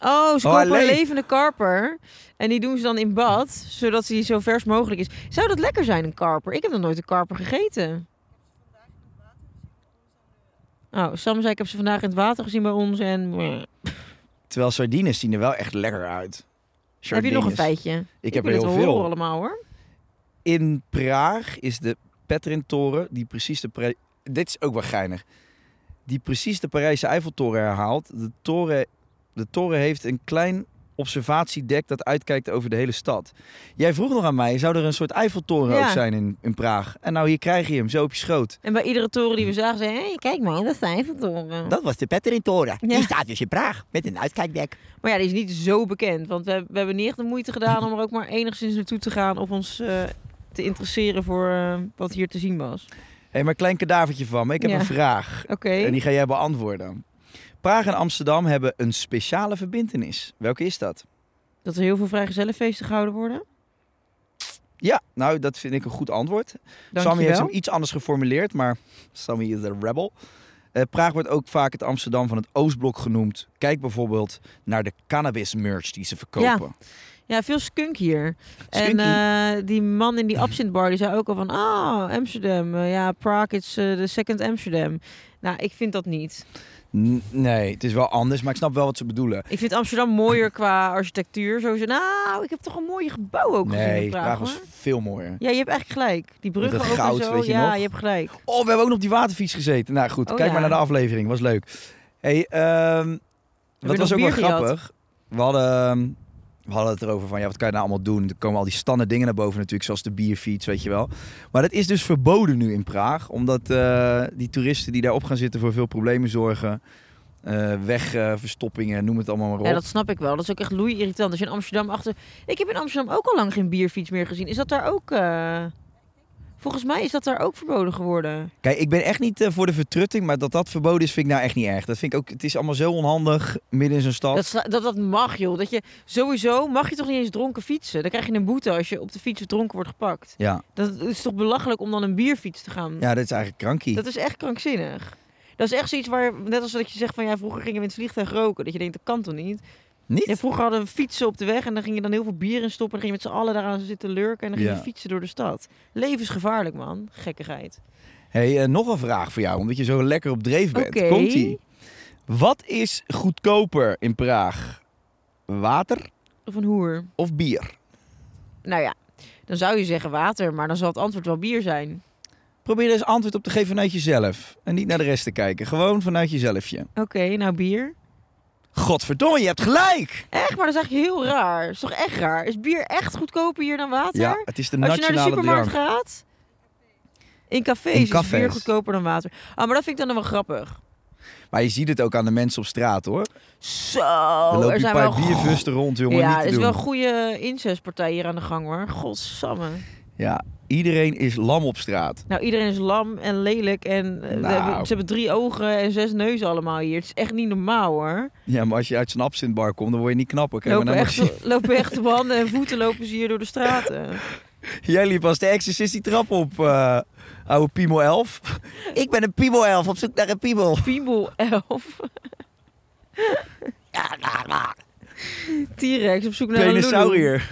[SPEAKER 3] oh ze
[SPEAKER 4] Oh,
[SPEAKER 3] kopen
[SPEAKER 4] hij
[SPEAKER 3] een
[SPEAKER 4] leeft.
[SPEAKER 3] levende karper en die doen ze dan in bad, zodat hij zo vers mogelijk is. Zou dat lekker zijn, een karper? Ik heb nog nooit een karper gegeten. Oh, Sam zei ik heb ze vandaag in het water gezien bij ons en...
[SPEAKER 4] Terwijl sardines zien er wel echt lekker uit.
[SPEAKER 3] Heb je nog een
[SPEAKER 4] Sardines.
[SPEAKER 3] feitje?
[SPEAKER 4] Ik heb
[SPEAKER 3] wil
[SPEAKER 4] er
[SPEAKER 3] het
[SPEAKER 4] heel
[SPEAKER 3] wel
[SPEAKER 4] veel.
[SPEAKER 3] horen allemaal hoor.
[SPEAKER 4] In Praag is de Petrin-toren die precies de... Pri- Dit is ook wel geinig. Die precies de Parijse Eiffeltoren herhaalt. De toren, de toren heeft een klein observatiedek dat uitkijkt over de hele stad. Jij vroeg nog aan mij, zou er een soort Eiffeltoren
[SPEAKER 3] Ja.
[SPEAKER 4] ook zijn in, in Praag? En nou, hier krijg je hem, zo op je schoot.
[SPEAKER 3] En bij iedere toren
[SPEAKER 4] Hm.
[SPEAKER 3] die we zagen, zei hé, hey, kijk man, dat zijn Eiffeltoren.
[SPEAKER 7] Dat was de Petterin-toren.
[SPEAKER 3] Ja.
[SPEAKER 7] Die staat dus in Praag met een uitkijkdek.
[SPEAKER 3] Maar ja, die is niet zo bekend, want we, we hebben niet echt de moeite gedaan om er ook maar enigszins naartoe te gaan of ons eh, te interesseren voor eh, wat hier te zien was.
[SPEAKER 4] Hé, maar klein kadavertje van me. Ik heb
[SPEAKER 3] Ja.
[SPEAKER 4] een vraag.
[SPEAKER 3] Oké.
[SPEAKER 4] En die ga jij beantwoorden. Praag en Amsterdam hebben een speciale verbindenis. Welke is dat?
[SPEAKER 3] Dat er heel veel vrijgezellenfeesten gehouden worden.
[SPEAKER 4] Ja, nou, dat vind ik een goed antwoord. Sammy heeft
[SPEAKER 3] Dankjewel.
[SPEAKER 4] hem iets anders geformuleerd, maar Sammy is een rebel. Eh, Praag wordt ook vaak het Amsterdam van het Oostblok genoemd. Kijk bijvoorbeeld naar de cannabis merch die ze verkopen.
[SPEAKER 3] Ja, veel skunk hier. En
[SPEAKER 4] Skunky.
[SPEAKER 3] eh, die man in die absintbar, die zei ook al van, ah, Amsterdam. eh, ja, Praag is eh, de second Amsterdam. Nou, ik vind dat niet.
[SPEAKER 4] N- Nee, het is wel anders, maar ik snap wel wat ze bedoelen.
[SPEAKER 3] Ik vind Amsterdam mooier qua architectuur. Zo ze, nou, ik heb toch een mooie gebouw ook gezien
[SPEAKER 4] nee,
[SPEAKER 3] in Praag,
[SPEAKER 4] Praag was
[SPEAKER 3] hoor.
[SPEAKER 4] veel mooier.
[SPEAKER 3] Ja, je hebt eigenlijk gelijk. Die bruggen
[SPEAKER 4] dat
[SPEAKER 3] ook en
[SPEAKER 4] goud,
[SPEAKER 3] zo.
[SPEAKER 4] weet je
[SPEAKER 3] ja,
[SPEAKER 4] nog?
[SPEAKER 3] je hebt gelijk.
[SPEAKER 4] Oh, we hebben ook nog op die waterfiets gezeten. Nou goed,
[SPEAKER 3] Oh,
[SPEAKER 4] kijk
[SPEAKER 3] ja.
[SPEAKER 4] maar naar de aflevering. Was leuk. Hey, ehm dat
[SPEAKER 3] je
[SPEAKER 4] was
[SPEAKER 3] nog
[SPEAKER 4] ook wel
[SPEAKER 3] bier gejat?
[SPEAKER 4] grappig. We hadden, ehm, we hadden het erover van, ja, wat kan je nou allemaal doen? Er komen al die standaard dingen naar boven natuurlijk, zoals de bierfiets, weet je wel. Maar dat is dus verboden nu in Praag. Omdat eh, die toeristen die daarop gaan zitten voor veel problemen zorgen. eh Wegverstoppingen, noem het allemaal maar op.
[SPEAKER 3] Ja, dat snap ik wel. Dat is ook echt loei-irritant. Als je in Amsterdam achter... Ik heb in Amsterdam ook al lang geen bierfiets meer gezien. Is dat daar ook... eh, Volgens mij is dat daar ook verboden geworden.
[SPEAKER 4] Kijk, ik ben echt niet eh, voor de vertrutting, maar dat dat verboden is, vind ik nou echt niet erg. Dat vind ik ook, het is allemaal zo onhandig, midden in zo'n stad.
[SPEAKER 3] Dat, sla- dat dat mag, joh. Dat je sowieso mag je toch niet eens dronken fietsen. Dan krijg je een boete als je op de fiets dronken wordt gepakt.
[SPEAKER 4] Ja.
[SPEAKER 3] Dat is toch belachelijk om dan een bierfiets te gaan.
[SPEAKER 4] ja, dat is eigenlijk krankie.
[SPEAKER 3] Dat is echt krankzinnig. Dat is echt zoiets waar, net als dat je zegt van ja, vroeger gingen we in het vliegtuig roken. Dat je denkt, dat kan toch niet?
[SPEAKER 4] Niet?
[SPEAKER 3] Ja, vroeger hadden we fietsen op de weg en dan ging je dan heel veel bier in stoppen. En dan ging je met z'n allen daaraan zitten lurken en dan ging
[SPEAKER 4] Ja.
[SPEAKER 3] je fietsen door de stad. Levensgevaarlijk, man. Gekkigheid.
[SPEAKER 4] Hey, eh, nog een vraag voor jou, omdat je zo lekker op dreef bent.
[SPEAKER 3] Oké.
[SPEAKER 4] Komt-ie. Wat is goedkoper in Praag? Water
[SPEAKER 3] Of een hoer.
[SPEAKER 4] of bier?
[SPEAKER 3] Nou ja, dan zou je zeggen water, maar dan zal het antwoord wel bier zijn.
[SPEAKER 4] Probeer er eens antwoord op te geven vanuit jezelf. En niet naar de rest te kijken. Gewoon vanuit jezelfje.
[SPEAKER 8] Oké, nou bier.
[SPEAKER 4] Godverdomme, je hebt gelijk!
[SPEAKER 8] Echt, maar dat is echt heel raar. Dat is toch echt raar? Is bier echt goedkoper hier dan water?
[SPEAKER 4] Ja, het is de
[SPEAKER 8] Als je naar de
[SPEAKER 4] nationale
[SPEAKER 8] supermarkt
[SPEAKER 4] drank.
[SPEAKER 8] gaat, in cafés,
[SPEAKER 4] In
[SPEAKER 8] is bier
[SPEAKER 4] cafés.
[SPEAKER 8] goedkoper dan water. Ah, maar dat vind ik dan wel grappig.
[SPEAKER 4] Maar je ziet het ook aan de mensen op straat hoor.
[SPEAKER 8] Zo,
[SPEAKER 4] er lopen
[SPEAKER 8] Oh, er
[SPEAKER 4] een
[SPEAKER 8] zijn
[SPEAKER 4] paar
[SPEAKER 8] wel
[SPEAKER 4] biervusten rond, jongen.
[SPEAKER 8] ja,
[SPEAKER 4] niet te
[SPEAKER 8] er is
[SPEAKER 4] doen.
[SPEAKER 8] wel een goede incestpartij hier aan de gang hoor. Godsamme.
[SPEAKER 4] Ja, iedereen is lam op straat.
[SPEAKER 8] Nou, iedereen is lam en lelijk en eh, we
[SPEAKER 4] Nou.
[SPEAKER 8] hebben- ze hebben drie ogen en zes neuzen allemaal hier. Het is echt niet normaal hoor.
[SPEAKER 4] Ja, maar als je uit zo'n absintbar komt, dan word je niet knapper. Kijk maar
[SPEAKER 8] lopen,
[SPEAKER 4] naar
[SPEAKER 8] echt, lopen echt op handen en voeten lopen ze hier door de straten.
[SPEAKER 4] Jij liep als de exorcist die trap op, eh oude Piemel 11.
[SPEAKER 9] Ik ben een piebelelf op zoek naar een piebel.
[SPEAKER 8] Piemel 11. T-Rex op zoek naar een lulu.
[SPEAKER 4] Plenisaurier.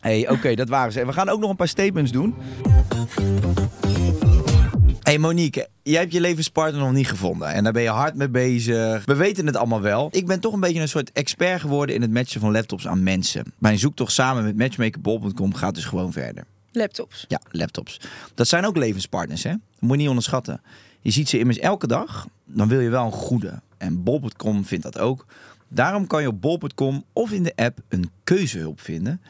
[SPEAKER 4] hey, oké, dat waren ze. En we gaan ook nog een paar statements doen. hey Monique, jij hebt je levenspartner nog niet gevonden. En daar ben je hard mee bezig. We weten het allemaal wel. Ik ben toch een beetje een soort expert geworden in het matchen van laptops aan mensen. Mijn zoektocht samen met matchmakerbol.com gaat dus gewoon verder.
[SPEAKER 3] Laptops.
[SPEAKER 4] Ja, laptops. Dat zijn ook levenspartners, hè? Dat moet je niet onderschatten. Je ziet ze immers elke dag, dan wil je wel een goede. En bol.com vindt dat ook. Daarom kan je op bol.com of in de app een keuzehulp vinden.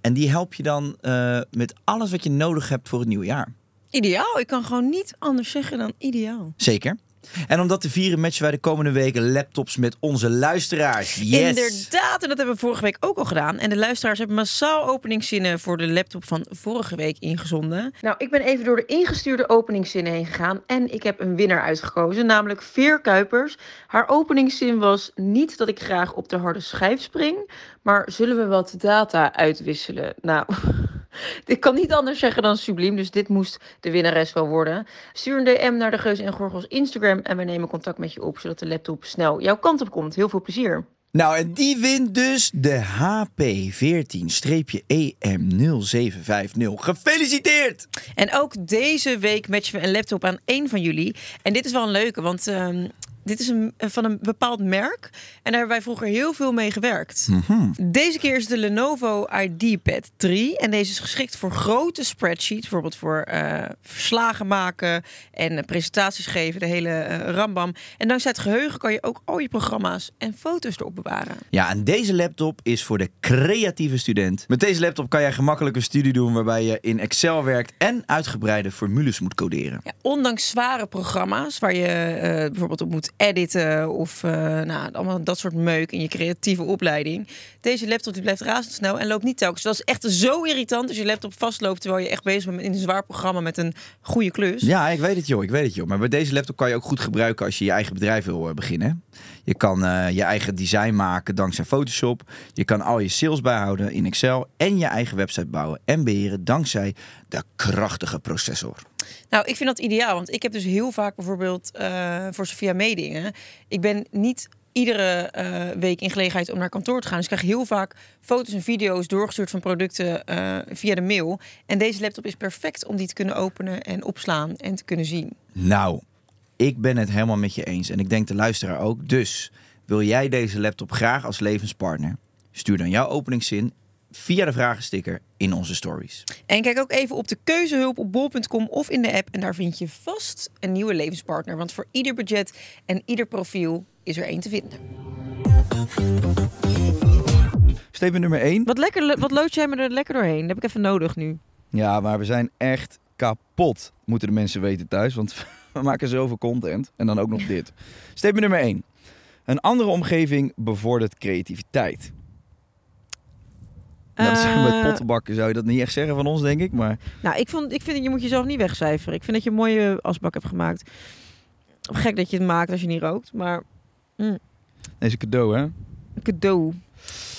[SPEAKER 4] En die help je dan eh, met alles wat je nodig hebt voor het nieuwe jaar.
[SPEAKER 3] Ideaal. Ik kan gewoon niet anders zeggen dan ideaal.
[SPEAKER 4] Zeker. En om dat te vieren matchen wij de komende weken laptops met onze luisteraars. Yes!
[SPEAKER 3] Inderdaad, en dat hebben we vorige week ook al gedaan. En de luisteraars hebben massaal openingszinnen voor de laptop van vorige week ingezonden. Nou, ik ben even door de ingestuurde openingszinnen heen gegaan en ik heb een winnaar uitgekozen, namelijk Veer Kuipers. Haar openingszin was niet dat ik graag op de harde schijf spring, maar zullen we wat data uitwisselen? Nou, ik kan niet anders zeggen dan subliem, dus dit moest de winnares wel worden. Stuur een DM naar de Geus en Gorgels Instagram en we nemen contact met je op, zodat de laptop snel jouw kant op komt. Heel veel plezier!
[SPEAKER 4] Nou, en die wint dus de E HP14-EM0750. Gefeliciteerd!
[SPEAKER 3] En ook deze week matchen we een laptop aan één van jullie. En dit is wel een leuke, want ehm, dit is een, van een bepaald merk. En daar hebben wij vroeger heel veel mee gewerkt. Deze keer is de Lenovo IdeaPad 3. En deze is geschikt voor grote spreadsheets. Bijvoorbeeld voor eh, verslagen maken en eh, presentaties geven. De hele eh, rambam. En dankzij het geheugen kan je ook al je programma's en foto's erop bewaren.
[SPEAKER 4] Ja, en deze laptop is voor de creatieve student. Met deze laptop kan jij gemakkelijk een studie doen waarbij je in Excel werkt en uitgebreide formules moet coderen.
[SPEAKER 3] Ja, ondanks zware programma's waar je eh, bijvoorbeeld op moet editen of eh, nou, allemaal dat soort meuk in je creatieve opleiding. Deze laptop die blijft razendsnel en loopt niet telkens. Dat is echt zo irritant als je laptop vastloopt terwijl je echt bezig bent in een zwaar programma met een goede klus.
[SPEAKER 4] Ja, ik weet het joh, ik weet het joh. Maar bij deze laptop kan je ook goed gebruiken als je je eigen bedrijf wil eh, beginnen. Je kan eh, je eigen design maken dankzij Photoshop. Je kan al je sales bijhouden in Excel en je eigen website bouwen en beheren dankzij de krachtige processor.
[SPEAKER 3] Nou, ik vind dat ideaal, want ik heb dus heel vaak bijvoorbeeld eh, voor Sophia Meedingen. Ik ben niet iedere eh, week in gelegenheid om naar kantoor te gaan. Dus ik krijg heel vaak foto's en video's doorgestuurd van producten eh, via de mail. En deze laptop is perfect om die te kunnen openen en opslaan en te kunnen zien.
[SPEAKER 4] Nou, ik ben het helemaal met je eens en ik denk de luisteraar ook. Dus wil jij deze laptop graag als levenspartner? Stuur dan jouw openingszin via de vragensticker in onze stories.
[SPEAKER 3] En kijk ook even op de keuzehulp op bol.com of in de app. En daar vind je vast een nieuwe levenspartner. Want voor ieder budget en ieder profiel is er één te vinden.
[SPEAKER 4] Statement nummer 1.
[SPEAKER 8] Wat, lekker, wat lood jij me er lekker doorheen? Dat heb ik even nodig nu.
[SPEAKER 4] Ja, maar we zijn echt kapot, moeten de mensen weten thuis. Want we maken zoveel content en dan ook nog dit. Statement nummer 1. Een andere omgeving bevordert creativiteit. Nou, dat zou-
[SPEAKER 8] Eh,
[SPEAKER 4] met pottenbakken zou je dat niet echt zeggen van ons, denk ik. Maar
[SPEAKER 8] Nou, ik, vond, ik vind dat je moet jezelf niet wegcijferen. Ik vind dat je een mooie asbak hebt gemaakt. Gek dat je het maakt als je niet rookt, maar
[SPEAKER 4] deze cadeau, hè?
[SPEAKER 8] cadeau.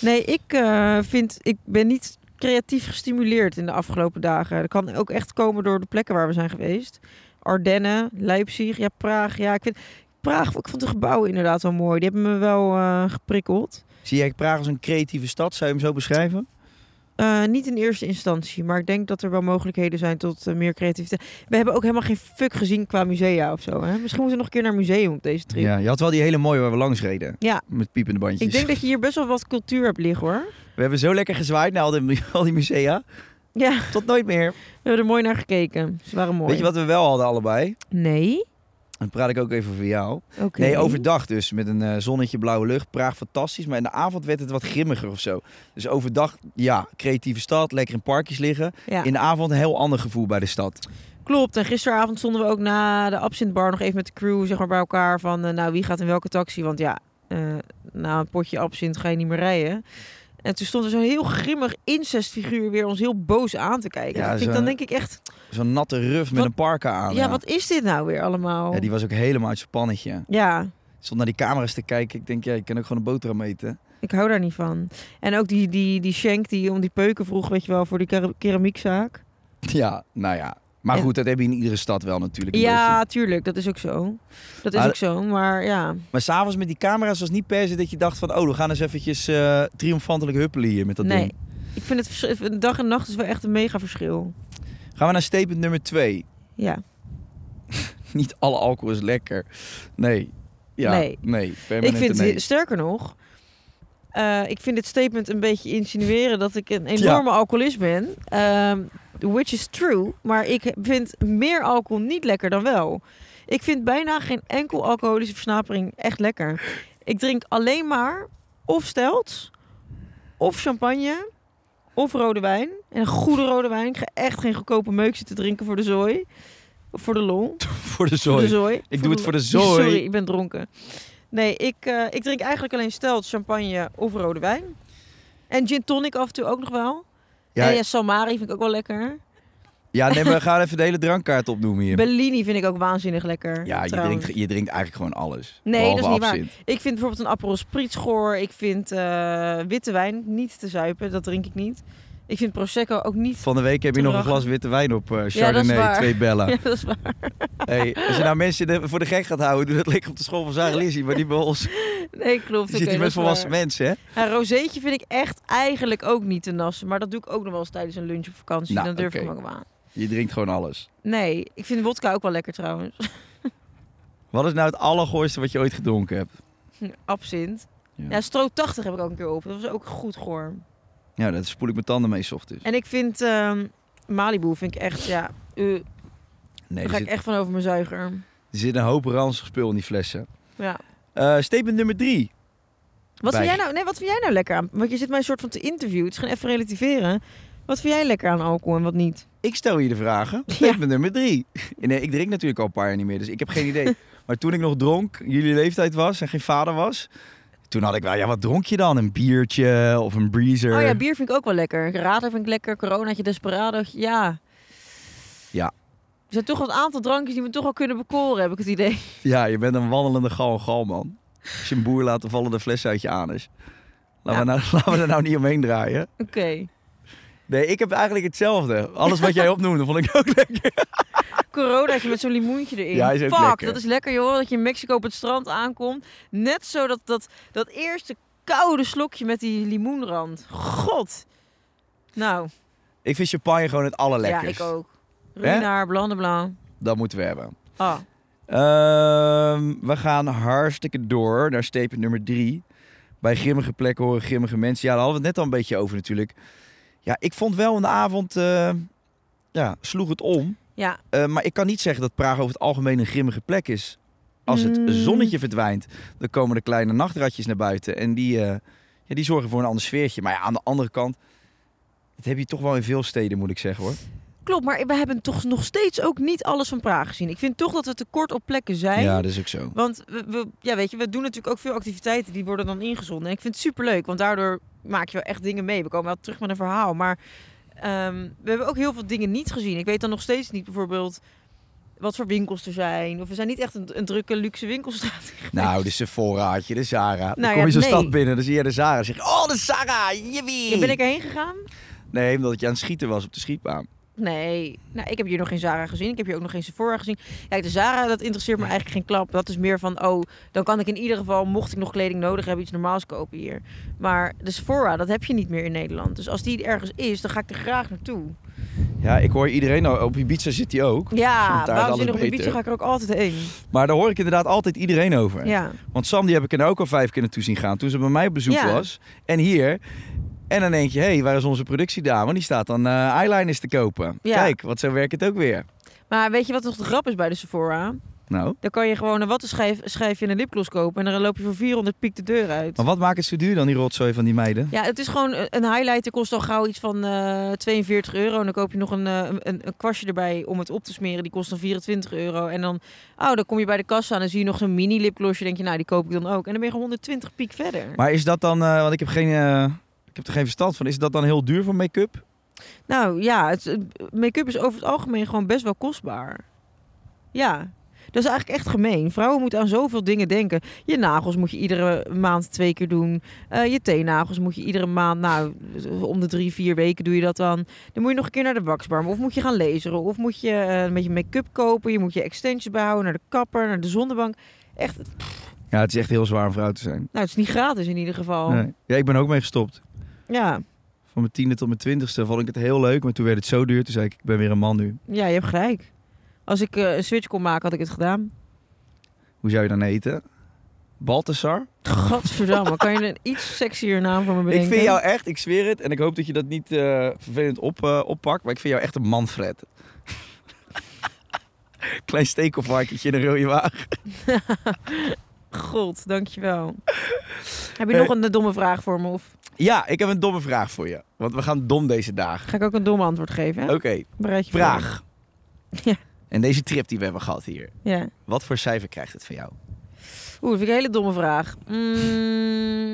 [SPEAKER 8] Nee, ik eh, vind, ik ben niet creatief gestimuleerd in de afgelopen dagen. Dat kan ook echt komen door de plekken waar we zijn geweest. Ardennen, Leipzig, ja, Praag. Ja, ik vind Praag, ik vond de gebouwen inderdaad wel mooi. Die hebben me wel eh, geprikkeld.
[SPEAKER 4] Zie jij Praag als een creatieve stad? Zou je hem zo beschrijven?
[SPEAKER 8] Eh, niet in eerste instantie, maar ik denk dat er wel mogelijkheden zijn tot eh, meer creativiteit. We hebben ook helemaal geen fuck gezien qua musea of zo. Hè? Misschien moeten we nog een keer naar een museum op deze trip.
[SPEAKER 4] Ja, je had wel die hele mooie waar we langs reden.
[SPEAKER 8] Ja.
[SPEAKER 4] Met piepende bandjes.
[SPEAKER 8] Ik denk dat je hier best wel wat cultuur hebt liggen hoor.
[SPEAKER 4] We hebben zo lekker gezwaaid naar al die, al die musea.
[SPEAKER 3] Ja,
[SPEAKER 4] Tot nooit meer.
[SPEAKER 3] we hebben er mooi naar gekeken. Ze waren mooi.
[SPEAKER 4] Weet je wat we wel hadden allebei?
[SPEAKER 3] Nee?
[SPEAKER 4] Dan praat ik ook even voor jou.
[SPEAKER 3] Oké.
[SPEAKER 4] Nee, overdag dus. Met een eh, zonnetje, blauwe lucht. Praag fantastisch. Maar in de avond werd het wat grimmiger of zo. Dus overdag, ja, creatieve stad. Lekker in parkjes liggen.
[SPEAKER 3] Ja.
[SPEAKER 4] In de avond een heel ander gevoel bij de stad.
[SPEAKER 3] Klopt. En gisteravond stonden we ook na de Absinthe Bar nog even met de crew zeg maar, bij elkaar. Van eh, nou, wie gaat in welke taxi? Want ja, eh, na een potje Absinthe ga je niet meer rijden. En toen stond er zo'n heel grimmig incestfiguur weer ons heel boos aan te kijken. Dat
[SPEAKER 4] Ja,
[SPEAKER 3] vind ik-
[SPEAKER 4] zo'n-
[SPEAKER 3] dan denk ik echt,
[SPEAKER 4] Zo'n natte ruf met
[SPEAKER 3] Wat-
[SPEAKER 4] een parka aan.
[SPEAKER 3] ja, wat is dit nou weer allemaal?
[SPEAKER 4] Ja, die was ook helemaal uit zijn pannetje.
[SPEAKER 3] ja,
[SPEAKER 4] Stond naar die camera's te kijken. Ik denk, ja, je kan ook gewoon een boterham eten.
[SPEAKER 3] ik hou daar niet van. En ook die, die, die Schenk die om die peuken vroeg, weet je wel, voor die kera- keramiekzaak.
[SPEAKER 4] Ja, nou ja. Maar
[SPEAKER 3] En-
[SPEAKER 4] goed, dat heb je in iedere stad wel natuurlijk. Een
[SPEAKER 3] Ja,
[SPEAKER 4] beetje.
[SPEAKER 3] tuurlijk, dat is ook zo. Dat is
[SPEAKER 4] Maar-
[SPEAKER 3] ook zo, maar ja.
[SPEAKER 4] Maar s'avonds met die camera's was niet per se dat je dacht van... Oh, we gaan eens eventjes eh, triomfantelijk huppelen hier met dat
[SPEAKER 3] nee,
[SPEAKER 4] ding.
[SPEAKER 3] ik vind het vers- een dag en nacht is wel echt een mega verschil.
[SPEAKER 4] Gaan we naar statement nummer twee.
[SPEAKER 3] Ja.
[SPEAKER 4] Niet alle alcohol is lekker. Nee. Ja,
[SPEAKER 3] Nee.
[SPEAKER 4] nee.
[SPEAKER 3] Ik
[SPEAKER 4] permanente
[SPEAKER 3] vind,
[SPEAKER 4] nee.
[SPEAKER 3] sterker nog, eh, ik vind dit statement een beetje insinueren dat ik een enorme alcoholist ben. Ehm, which is true, maar ik vind meer alcohol niet lekker dan wel. Ik vind bijna geen enkel alcoholische versnapering echt lekker. Ik drink alleen maar of stelts, of champagne, of rode wijn. En een goede rode wijn. Ik ga echt geen goedkope meuk zitten drinken voor de zooi. Of voor de lol.
[SPEAKER 4] Voor
[SPEAKER 3] Voor
[SPEAKER 4] de zooi.
[SPEAKER 3] de zooi.
[SPEAKER 4] Ik doe het voor de
[SPEAKER 3] lo-
[SPEAKER 4] zooi.
[SPEAKER 3] Sorry, ik ben dronken. Nee, ik, eh, ik drink eigenlijk alleen stelt champagne of rode wijn. En gin tonic af en toe ook nog wel.
[SPEAKER 4] Ja,
[SPEAKER 3] En ja, Salmari vind ik ook wel lekker.
[SPEAKER 4] ja, nee, maar we gaan even de hele drankkaart opnoemen hier.
[SPEAKER 3] Bellini vind ik ook waanzinnig lekker.
[SPEAKER 4] ja, je
[SPEAKER 3] trouwens.
[SPEAKER 4] drinkt, je drinkt eigenlijk gewoon alles.
[SPEAKER 3] Nee, dat is
[SPEAKER 4] behalve
[SPEAKER 3] niet waar.
[SPEAKER 4] absint.
[SPEAKER 3] Ik vind bijvoorbeeld een Aperol Spritz goor. Ik vind eh, witte wijn niet te zuipen. Dat drink ik niet. Ik vind Prosecco ook niet...
[SPEAKER 4] Van de week heb je
[SPEAKER 3] Te
[SPEAKER 4] nog een
[SPEAKER 3] lachen.
[SPEAKER 4] glas witte wijn op eh,
[SPEAKER 3] Ja, dat is
[SPEAKER 4] Chardonnay,
[SPEAKER 3] waar.
[SPEAKER 4] twee bellen.
[SPEAKER 3] Ja, dat is waar.
[SPEAKER 4] Hey, als je nou mensen de- voor de gek gaat houden, doe dat lekker op de school van Sarah Lizzie, maar niet bij ons. Je
[SPEAKER 3] Nee, klopt.
[SPEAKER 4] zit
[SPEAKER 3] oké,
[SPEAKER 4] hier
[SPEAKER 3] dat
[SPEAKER 4] met
[SPEAKER 3] is
[SPEAKER 4] volwassen
[SPEAKER 3] waar.
[SPEAKER 4] mensen, hè?
[SPEAKER 3] Een rozeetje vind ik echt eigenlijk ook niet te nassen. Maar dat doe ik ook nog wel eens tijdens een lunch op vakantie.
[SPEAKER 4] Nou,
[SPEAKER 3] Dan durf ik
[SPEAKER 4] oké.
[SPEAKER 3] hem ook wel aan.
[SPEAKER 4] Je drinkt gewoon alles.
[SPEAKER 3] Nee, ik vind wodka ook wel lekker trouwens.
[SPEAKER 4] Wat is nou het allergooiste wat je ooit gedronken hebt?
[SPEAKER 3] Absint.
[SPEAKER 4] Ja.
[SPEAKER 3] Ja, stro 80 heb ik ook een keer op. Dat was ook goed goor.
[SPEAKER 4] Ja, dat spoel ik mijn tanden mee 's ochtends.
[SPEAKER 3] En ik vind ehm, Malibu vind ik echt, ja... eh,
[SPEAKER 4] Nee,
[SPEAKER 3] daar
[SPEAKER 4] er
[SPEAKER 3] ga ik
[SPEAKER 4] zit,
[SPEAKER 3] echt van over mijn zuiger.
[SPEAKER 4] er zit een hoop ranzig spul in die flessen.
[SPEAKER 3] Ja.
[SPEAKER 4] Eh, statement nummer drie.
[SPEAKER 3] Wat
[SPEAKER 4] Bij-
[SPEAKER 3] vind, jij nou, nee, wat vind jij nou lekker aan? Want je zit mij een soort van te interviewen. Het is gewoon even relativeren. Wat vind jij lekker aan alcohol en wat niet?
[SPEAKER 4] Ik stel je de vragen. Statement nummer drie. Nee, ik drink natuurlijk al een paar jaar niet meer, dus ik heb geen idee. maar toen ik nog dronk, jullie leeftijd was en geen vader was... Toen had ik wel, ja, wat dronk je dan? Een biertje of een breezer?
[SPEAKER 3] Oh ja, bier vind ik ook wel lekker. Radler vind ik lekker. Coronaatje, Desperado'tje, ja.
[SPEAKER 4] Ja.
[SPEAKER 3] Er zijn toch wel een aantal drankjes die me toch wel kunnen bekoren, heb ik het idee.
[SPEAKER 4] Ja, je bent een wandelende gal, gal man. Als je een boer laat, dan vallen de flessen uit je anus. Laten, we, nou, laten we er nou niet omheen draaien.
[SPEAKER 3] Oké.
[SPEAKER 4] Nee, ik heb eigenlijk hetzelfde. Alles wat jij opnoemde, vond ik ook lekker.
[SPEAKER 3] Coronaatje met zo'n limoentje erin.
[SPEAKER 4] Ja, is ook
[SPEAKER 3] Fuck,
[SPEAKER 4] lekker.
[SPEAKER 3] dat is lekker joh. Dat je in Mexico op het strand aankomt. Net zo dat, dat, dat eerste koude slokje met die limoenrand. God. Nou,
[SPEAKER 4] Ik vind champagne gewoon het
[SPEAKER 3] ja,
[SPEAKER 4] allerlekkers.
[SPEAKER 3] ik ook. Ruinaar, blanc de blanc.
[SPEAKER 4] Dat moeten we hebben.
[SPEAKER 3] Ah,
[SPEAKER 4] Ehm, we gaan hartstikke door naar statement nummer drie. Bij grimmige plekken horen grimmige mensen. Ja, daar hadden we het net al een beetje over natuurlijk. Ja, ik vond wel in de avond... eh, ja, sloeg het om.
[SPEAKER 3] ja.
[SPEAKER 4] Eh, maar ik kan niet zeggen dat Praag over het algemeen een grimmige plek is. Als het
[SPEAKER 3] Mm.
[SPEAKER 4] zonnetje verdwijnt, dan komen de kleine nachtratjes naar buiten. En die, eh, ja, die zorgen voor een ander sfeertje. Maar ja, aan de andere kant, dat heb je toch wel in veel steden, moet ik zeggen hoor.
[SPEAKER 3] Klopt, maar we hebben toch nog steeds ook niet alles van Praag gezien. Ik vind toch dat we tekort op plekken zijn.
[SPEAKER 4] Ja, dat is ook zo.
[SPEAKER 3] Want we, we- ja, weet je, we doen natuurlijk ook veel activiteiten die worden dan ingezonden. En ik vind het superleuk, want daardoor maak je wel echt dingen mee. We komen wel terug met een verhaal. Maar ehm, we hebben ook heel veel dingen niet gezien. Ik weet dan nog steeds niet bijvoorbeeld wat voor winkels er zijn. Of we zijn niet echt een, een drukke luxe winkelstraat.
[SPEAKER 4] Nou, de Sephoraatje, de Zara. dan
[SPEAKER 3] Nou
[SPEAKER 4] kom
[SPEAKER 3] ja,
[SPEAKER 4] je zo'n
[SPEAKER 3] nee.
[SPEAKER 4] stad binnen, dan zie je de Zara. Zeg je, oh, de Zara, je
[SPEAKER 3] Ja, ben ik erheen gegaan?
[SPEAKER 4] Nee, omdat je aan het schieten was op de schietbaan.
[SPEAKER 3] Nee, nou, ik heb hier nog geen Zara gezien. Ik heb hier ook nog geen Sephora gezien. Kijk, de Zara, dat interesseert me eigenlijk geen klap. Dat is meer van, oh, dan kan ik in ieder geval, mocht ik nog kleding nodig hebben, iets normaals kopen hier. Maar de Sephora, dat heb je niet meer in Nederland. Dus als die ergens is, dan ga ik er graag naartoe.
[SPEAKER 4] Ja, ik hoor iedereen, al- op Ibiza zit hij ook.
[SPEAKER 3] Ja,
[SPEAKER 4] Daar is alles
[SPEAKER 3] waanzinnig op de
[SPEAKER 4] beter.
[SPEAKER 3] Ibiza ga ik er ook altijd heen.
[SPEAKER 4] Maar daar hoor ik inderdaad altijd iedereen over.
[SPEAKER 3] Ja,
[SPEAKER 4] Want Sam die heb ik er nou ook al vijf keer naartoe zien gaan toen ze bij mij op bezoek
[SPEAKER 3] Ja.
[SPEAKER 4] was. En hier, En dan denk je, hé, hey, waar is onze productiedame? Die staat dan eh, eyeliners te kopen.
[SPEAKER 3] Ja.
[SPEAKER 4] Kijk, wat zo werkt het ook weer.
[SPEAKER 3] Maar weet je wat nog de grap is bij de Sephora?
[SPEAKER 4] Nou,
[SPEAKER 3] Dan kan je gewoon een wattenschijf schijfje en een lipgloss kopen. En dan loop je voor 400 piek de deur uit.
[SPEAKER 4] maar wat maakt het zo duur dan, die rotzooi van die meiden?
[SPEAKER 3] Ja, het is gewoon eh, een highlighter kost al gauw iets van eh 42 euro. En dan koop je nog een, eh, een, een kwastje erbij om het op te smeren. Die kost dan 24 euro. En dan, oh, dan kom je bij de kassa en dan zie je nog zo'n mini lipglossje. denk je, nou, die koop ik dan ook. En dan ben je gewoon 120 piek verder.
[SPEAKER 4] Maar is dat dan, eh, want ik heb, geen, eh, ik heb er geen verstand van, is dat dan heel duur voor make-up?
[SPEAKER 3] Nou ja, het, het- make-up is over het algemeen gewoon best wel kostbaar. Ja, dat is eigenlijk echt gemeen. Vrouwen moeten aan zoveel dingen denken. Je nagels moet je iedere maand twee keer doen. Eh, je teennagels moet je iedere maand, nou, om de drie, vier weken doe je dat dan. Dan moet je nog een keer naar de waxbar. Of moet je gaan laseren. Of moet je eh, een beetje make-up kopen. Je moet je extensions bijhouden, naar de kapper, naar de zonnebank. Echt,
[SPEAKER 4] Ja, het is echt heel zwaar om vrouw te zijn.
[SPEAKER 3] nou, het is niet gratis in ieder geval.
[SPEAKER 4] Nee. Ja, ik ben er ook mee gestopt.
[SPEAKER 3] Ja.
[SPEAKER 4] Van mijn tiende tot mijn twintigste vond ik het heel leuk, maar toen werd het zo duur. Toen zei ik, ik ben weer een man nu.
[SPEAKER 3] ja, je hebt gelijk. Als ik eh, een switch kon maken, had ik het gedaan.
[SPEAKER 4] Hoe zou je dan eten? Baltasar?
[SPEAKER 3] Godverdamme, kan je een iets sexier naam voor me bedenken?
[SPEAKER 4] Ik vind jou echt, ik zweer het, en ik hoop dat je dat niet eh, vervelend op, eh, oppakt, maar ik vind jou echt een Manfred. Klein stekelvarkentje in een rode wagen.
[SPEAKER 3] God, dankjewel. Heb je
[SPEAKER 4] Eh.
[SPEAKER 3] nog een eh, domme vraag voor me? Of
[SPEAKER 4] Ja, ik heb een domme vraag voor je, want we gaan dom deze dagen.
[SPEAKER 3] ga ik ook een domme antwoord geven? Hè?
[SPEAKER 4] Oké,
[SPEAKER 3] Bereid je voor.
[SPEAKER 4] vraag.
[SPEAKER 3] Ja.
[SPEAKER 4] En deze trip die we hebben gehad hier,
[SPEAKER 3] Ja.
[SPEAKER 4] wat voor cijfer krijgt het van jou?
[SPEAKER 3] Oeh, dat vind ik een hele domme vraag. Mm,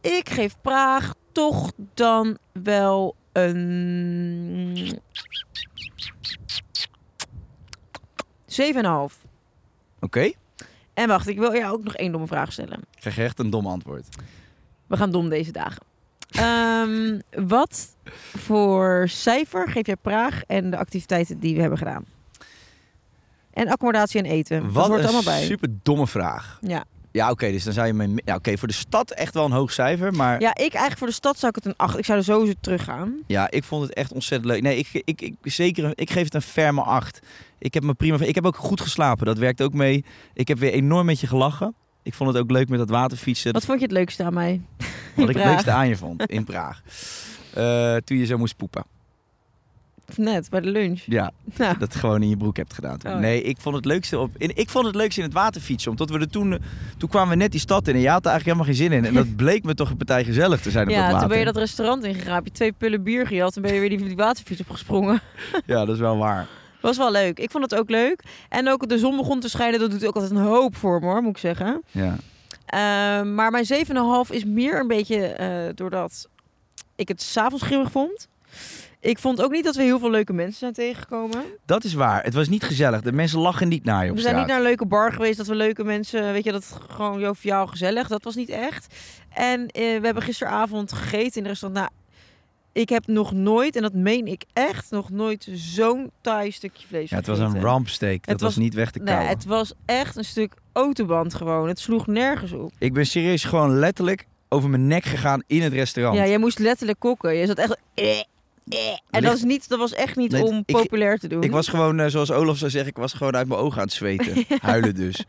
[SPEAKER 3] ik geef Praag toch dan wel een... 7,5.
[SPEAKER 4] Oké,
[SPEAKER 3] En wacht, ik wil jou ook nog één domme vraag stellen.
[SPEAKER 4] ik krijg echt een dom antwoord.
[SPEAKER 3] We gaan dom deze dagen. Ehm, wat voor cijfer geef jij Praag en de activiteiten die we hebben gedaan? En accommodatie en eten. dat
[SPEAKER 4] wat
[SPEAKER 3] hoort
[SPEAKER 4] een
[SPEAKER 3] allemaal bij.
[SPEAKER 4] super domme vraag.
[SPEAKER 3] Ja.
[SPEAKER 4] Ja, oké, dus dan zou je me... Ja, oké, voor de stad echt wel een hoog cijfer, maar...
[SPEAKER 3] ja, ik eigenlijk voor de stad zou ik het een 8. Ik zou er sowieso terug gaan.
[SPEAKER 4] Ja, ik vond het echt ontzettend leuk. Nee, ik, ik, ik, zeker, een- ik geef het een ferme 8. Ik heb me prima. Ik heb ook goed geslapen. Dat werkt ook mee. Ik heb weer enorm met je gelachen. Ik vond het ook leuk met dat waterfietsen.
[SPEAKER 3] Wat vond je het leukste aan mij?
[SPEAKER 4] Dat- wat ik het
[SPEAKER 3] Praag?
[SPEAKER 4] leukste aan je vond in Praag. Eh, toen je zo moest poepen.
[SPEAKER 3] Net, bij de lunch.
[SPEAKER 4] Ja,
[SPEAKER 3] Nou,
[SPEAKER 4] dat gewoon in je broek hebt gedaan. toen.
[SPEAKER 3] Oh.
[SPEAKER 4] Nee, ik vond het leukste op. in- ik vond het leukste in het waterfietsen. Omdat we er toen. Toen kwamen we net die stad in. En je had er eigenlijk helemaal geen zin in. En dat bleek me toch een partij gezellig te zijn op dat
[SPEAKER 3] ja,
[SPEAKER 4] water.
[SPEAKER 3] toen ben je dat restaurant ingegaan. Heb je twee pullen bier gehad. En ben je weer die, die waterfiets opgesprongen.
[SPEAKER 4] Ja, dat is wel waar.
[SPEAKER 3] Was wel leuk. Ik vond het ook leuk. En ook de zon begon te schijnen. Dat doet ook altijd een hoop voor me hoor, moet ik zeggen.
[SPEAKER 4] Ja.
[SPEAKER 3] Ehm, maar mijn 7,5 is meer een beetje eh, doordat ik het s'avonds grimmig vond. Ik vond ook niet dat we heel veel leuke mensen zijn tegengekomen.
[SPEAKER 4] Dat is waar. Het was niet gezellig. De mensen lachen niet naar je op
[SPEAKER 3] We zijn
[SPEAKER 4] straat.
[SPEAKER 3] niet naar een leuke bar geweest, dat we leuke mensen... Weet je, dat het gewoon joviaal gezellig, dat was niet echt. En eh, we hebben gisteravond gegeten in de restaurant. Nou, ik heb nog nooit, en dat meen ik echt, nog nooit zo'n taai stukje vlees
[SPEAKER 4] Ja, het was een
[SPEAKER 3] gegeten.
[SPEAKER 4] rampsteek. Dat
[SPEAKER 3] Het
[SPEAKER 4] was,
[SPEAKER 3] was-
[SPEAKER 4] niet weg te
[SPEAKER 3] Nee,
[SPEAKER 4] kauwen.
[SPEAKER 3] het was echt een stuk autoband gewoon. Het sloeg nergens op.
[SPEAKER 4] Ik ben serieus gewoon letterlijk over mijn nek gegaan in het restaurant.
[SPEAKER 3] Ja, jij moest letterlijk kokken. Je zat echt... eh, eh. En dat, is niet, dat was echt niet
[SPEAKER 4] Nee,
[SPEAKER 3] om
[SPEAKER 4] ik-
[SPEAKER 3] populair te doen.
[SPEAKER 4] Ik was gewoon, eh, zoals Olaf zou zeggen, ik was gewoon uit mijn ogen aan het zweten. Huilen dus.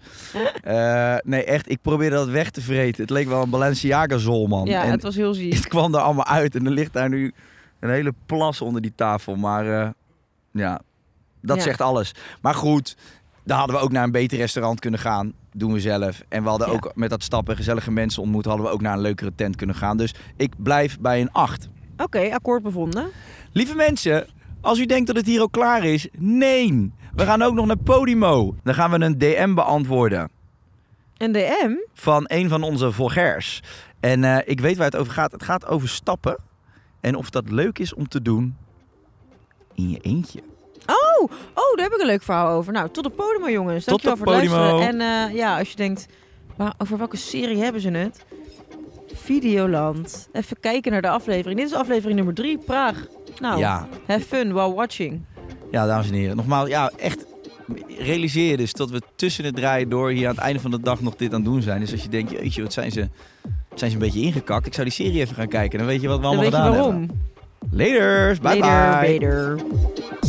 [SPEAKER 4] Eh, nee, echt, ik probeerde dat weg te vreten. Het leek wel een Balenciaga-zol, man.
[SPEAKER 3] ja,
[SPEAKER 4] en
[SPEAKER 3] het was heel ziek.
[SPEAKER 4] het kwam er allemaal uit. En er ligt daar nu een hele plas onder die tafel. Maar eh, ja, dat
[SPEAKER 3] Ja.
[SPEAKER 4] zegt alles. Maar goed, daar hadden we ook naar een beter restaurant kunnen gaan. Doen we zelf. En we hadden
[SPEAKER 3] Ja.
[SPEAKER 4] ook met dat stappen gezellige mensen ontmoet. Hadden we ook naar een leukere tent kunnen gaan. Dus ik blijf bij een 8.
[SPEAKER 3] Oké, akkoord bevonden.
[SPEAKER 4] Lieve mensen, als u denkt dat het hier ook klaar is, nee. We gaan ook nog naar Podimo. Dan gaan we een DM beantwoorden
[SPEAKER 3] Een DM?
[SPEAKER 4] van een van onze volgers. En eh, ik weet waar het over gaat. Het gaat over stappen en of dat leuk is om te doen in je eentje.
[SPEAKER 3] Oh, oh, daar heb ik een leuk verhaal over. Nou, tot de podium, jongens.
[SPEAKER 4] Tot
[SPEAKER 3] Dankjewel
[SPEAKER 4] de
[SPEAKER 3] voor het
[SPEAKER 4] podium.
[SPEAKER 3] luisteren. En eh, ja, als je denkt, waar, over welke serie hebben ze het? Videoland. Even kijken naar de aflevering. Dit is aflevering nummer 3, Praag. Nou,
[SPEAKER 4] Ja.
[SPEAKER 3] have fun while watching.
[SPEAKER 4] Ja, dames en heren. Nogmaals, ja, echt realiseer je dus dat we tussen het draaien door hier aan het einde van de dag nog dit aan het doen zijn. Dus als je denkt, jeetje, wat zijn ze, wat zijn ze een beetje ingekakt. Ik zou die serie even gaan kijken. Dan weet je wat we
[SPEAKER 3] Dan
[SPEAKER 4] allemaal
[SPEAKER 3] weet je
[SPEAKER 4] gedaan
[SPEAKER 3] waarom.
[SPEAKER 4] hebben. Later, bye
[SPEAKER 3] Later,
[SPEAKER 4] bye.
[SPEAKER 3] later.